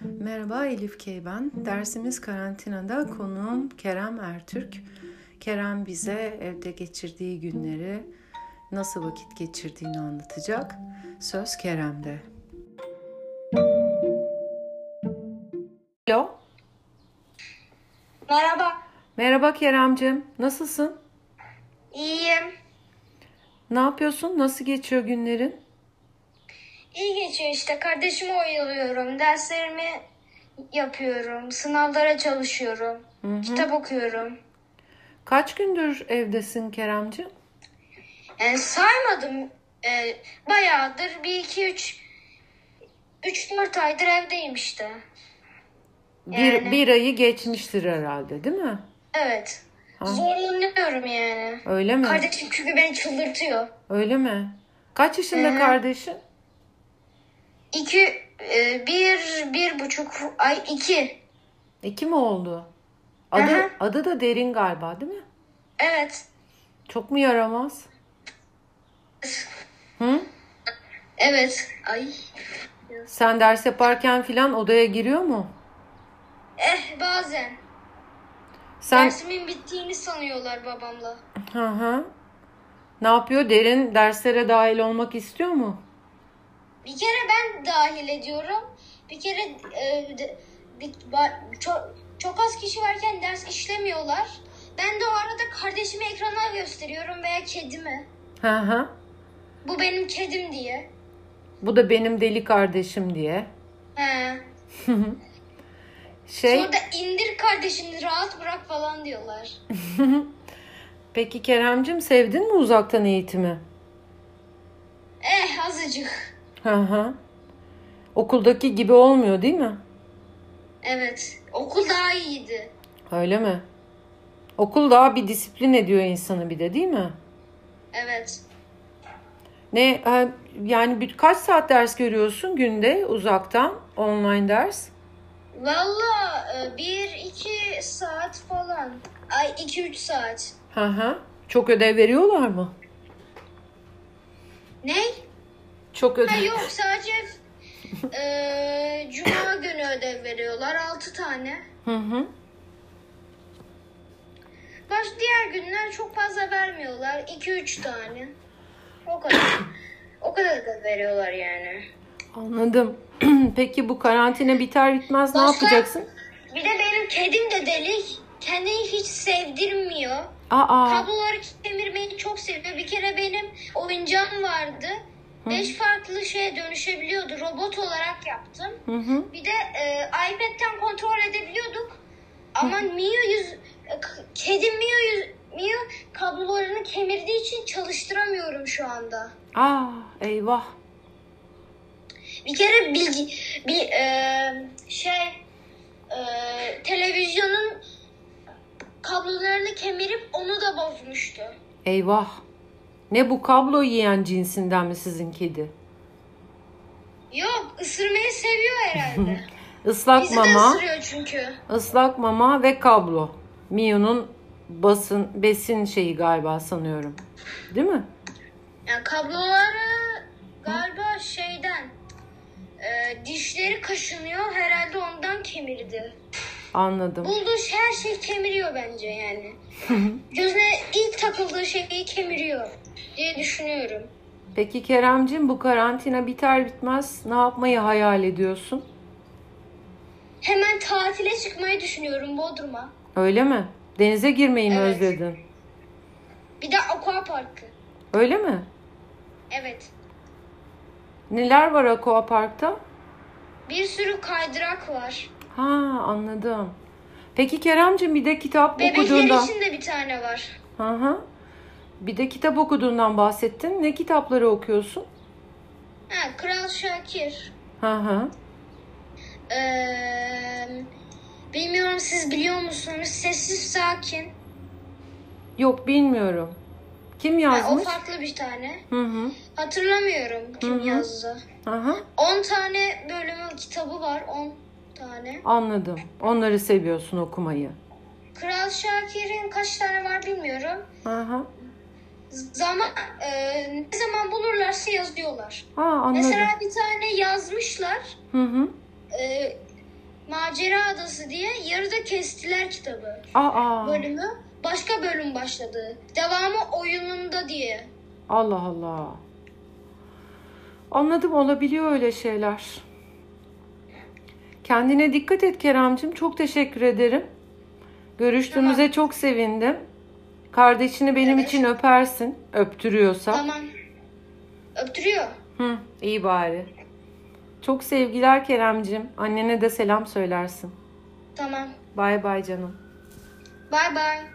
Merhaba Elif K. ben. Dersimiz karantinada konuğum Kerem Ertürk. Kerem bize evde geçirdiği günleri nasıl vakit geçirdiğini anlatacak. Söz Kerem'de. Alo. Merhaba. Merhaba Kerem'cim. Nasılsın? İyiyim. Ne yapıyorsun? Nasıl geçiyor günlerin? İyi geçiyor işte. Kardeşimi oyalıyorum. Derslerimi yapıyorum. Sınavlara çalışıyorum. Kitap okuyorum. Kaç gündür evdesin Kerem'cim? Yani E, saymadım. Ee, bayağıdır bir iki üç üç dört aydır evdeyim işte. Bir, bir ayı geçmiştir herhalde değil mi? Evet. Zorlanıyorum yani. Öyle mi? Kardeşim çünkü beni çıldırtıyor. Öyle mi? Kaç yaşında kardeşin? İki, e, bir, bir buçuk ay iki. İki mi E, oldu? Adı, Aha. adı da derin galiba değil mi? Evet. Çok mu yaramaz? Hı? Evet. Ay. Sen ders yaparken filan odaya giriyor mu? Eh bazen. Sen Dersimin bittiğini sanıyorlar babamla. hı hı. Ne yapıyor? Derin derslere dahil olmak istiyor mu? Bir kere ben dahil ediyorum. Bir kere e, de- bir- ba- çok, çok az kişi varken ders işlemiyorlar. Ben de o arada kardeşimi ekrana gösteriyorum veya kedimi. Hı hı. Bu benim kedim diye. Bu da benim deli kardeşim diye. He. Şey, Sonra da indir kardeşini rahat bırak falan diyorlar. peki Keremcim sevdin mi uzaktan eğitimi? Eh azıcık. Hı hı. Okuldaki gibi olmuyor değil mi? Evet. Okul daha iyiydi. Öyle mi? Okul daha bir disiplin ediyor insanı bir de değil mi? Evet. Ne e, yani bir, kaç saat ders görüyorsun günde uzaktan online ders? Valla e, bir iki saat falan. Ay iki üç saat. Hı hı. Çok ödev veriyorlar mı? Ne? Çok Ha, ödev. yok sadece eee, cuma günü ödev veriyorlar 6 tane. Hı hı. Baş diğer günler çok fazla vermiyorlar. 2-3 tane. O kadar. o kadar da veriyorlar yani. Anladım. Peki bu karantina biter bitmez ne Başka? yapacaksın? Bir de benim kedim de delik. Kendini hiç sevdirmiyor. Aa. Kabloları kemirmeyi çok seviyor. Bir kere benim oyuncağım vardı. 5 farklı şeye dönüşebiliyordu. Robot olarak yaptım. Hı hı. Bir de e, iPad'den kontrol edebiliyorduk. Ama Mio yüz e, k- kedi Mio yüz Mio kablolarını kemirdiği için çalıştıramıyorum şu anda. Aa, eyvah. Bir kere bilgi bir e, şey e, televizyonun kablolarını kemirip onu da bozmuştu. Eyvah. Ne bu kablo yiyen cinsinden mi sizin kedi? Yok ısırmayı seviyor herhalde. Islak Bizi de mama. ısırıyor çünkü. Islak mama ve kablo. Mio'nun basın besin şeyi galiba sanıyorum. Değil mi? Yani kabloları galiba şeyden e, dişleri kaşınıyor herhalde ondan kemirdi. Anladım. Bulduğu şey- her şeyi kemiriyor bence yani. Gözüne ilk takıldığı şeyi kemiriyor diye düşünüyorum. Peki Keremcim bu karantina biter bitmez ne yapmayı hayal ediyorsun? Hemen tatile çıkmayı düşünüyorum Bodrum'a. Öyle mi? Denize girmeyi mi Evet. özledin? Bir de aqua parkı. Öyle mi? Evet. Neler var Aqua Park'ta? Bir sürü kaydırak var. Ha anladım. Peki Keremcim bir de kitap Bebekler okuduğunda... için de bir tane var. Hı hı. Bir de kitap okuduğundan bahsettin. Ne kitapları okuyorsun? Ha, Kral Şakir. Hı hı. Ee, bilmiyorum siz biliyor musunuz? Sessiz sakin. Yok bilmiyorum. Kim Ha, o yazmış? farklı bir tane. Hı hı. Hatırlamıyorum kim yazdı. Aha, 10 tane bölümü kitabı var. 10 tane. anladım. Onları seviyorsun okumayı. Kral Şakir'in kaç tane var bilmiyorum. Aha. Zaman e, ne zaman bulurlarsa yazıyorlar. Aa, anladım. Mesela bir tane yazmışlar. Hı hı. E, Macera Adası diye yarıda kestiler kitabı. Aa, Bölümü başka bölüm başladı. Devamı oyununda diye. Allah Allah. Anladım olabiliyor öyle şeyler. Kendine dikkat et Keremcim. Çok teşekkür ederim. Görüştüğümüze çok sevindim. Kardeşini benim Evet. için öpersin. Öptürüyorsa. Tamam. Öptürüyor. Hı, iyi bari. Çok sevgiler Keremcim. Annene de selam söylersin. Tamam. Bay bay canım. Bay bay.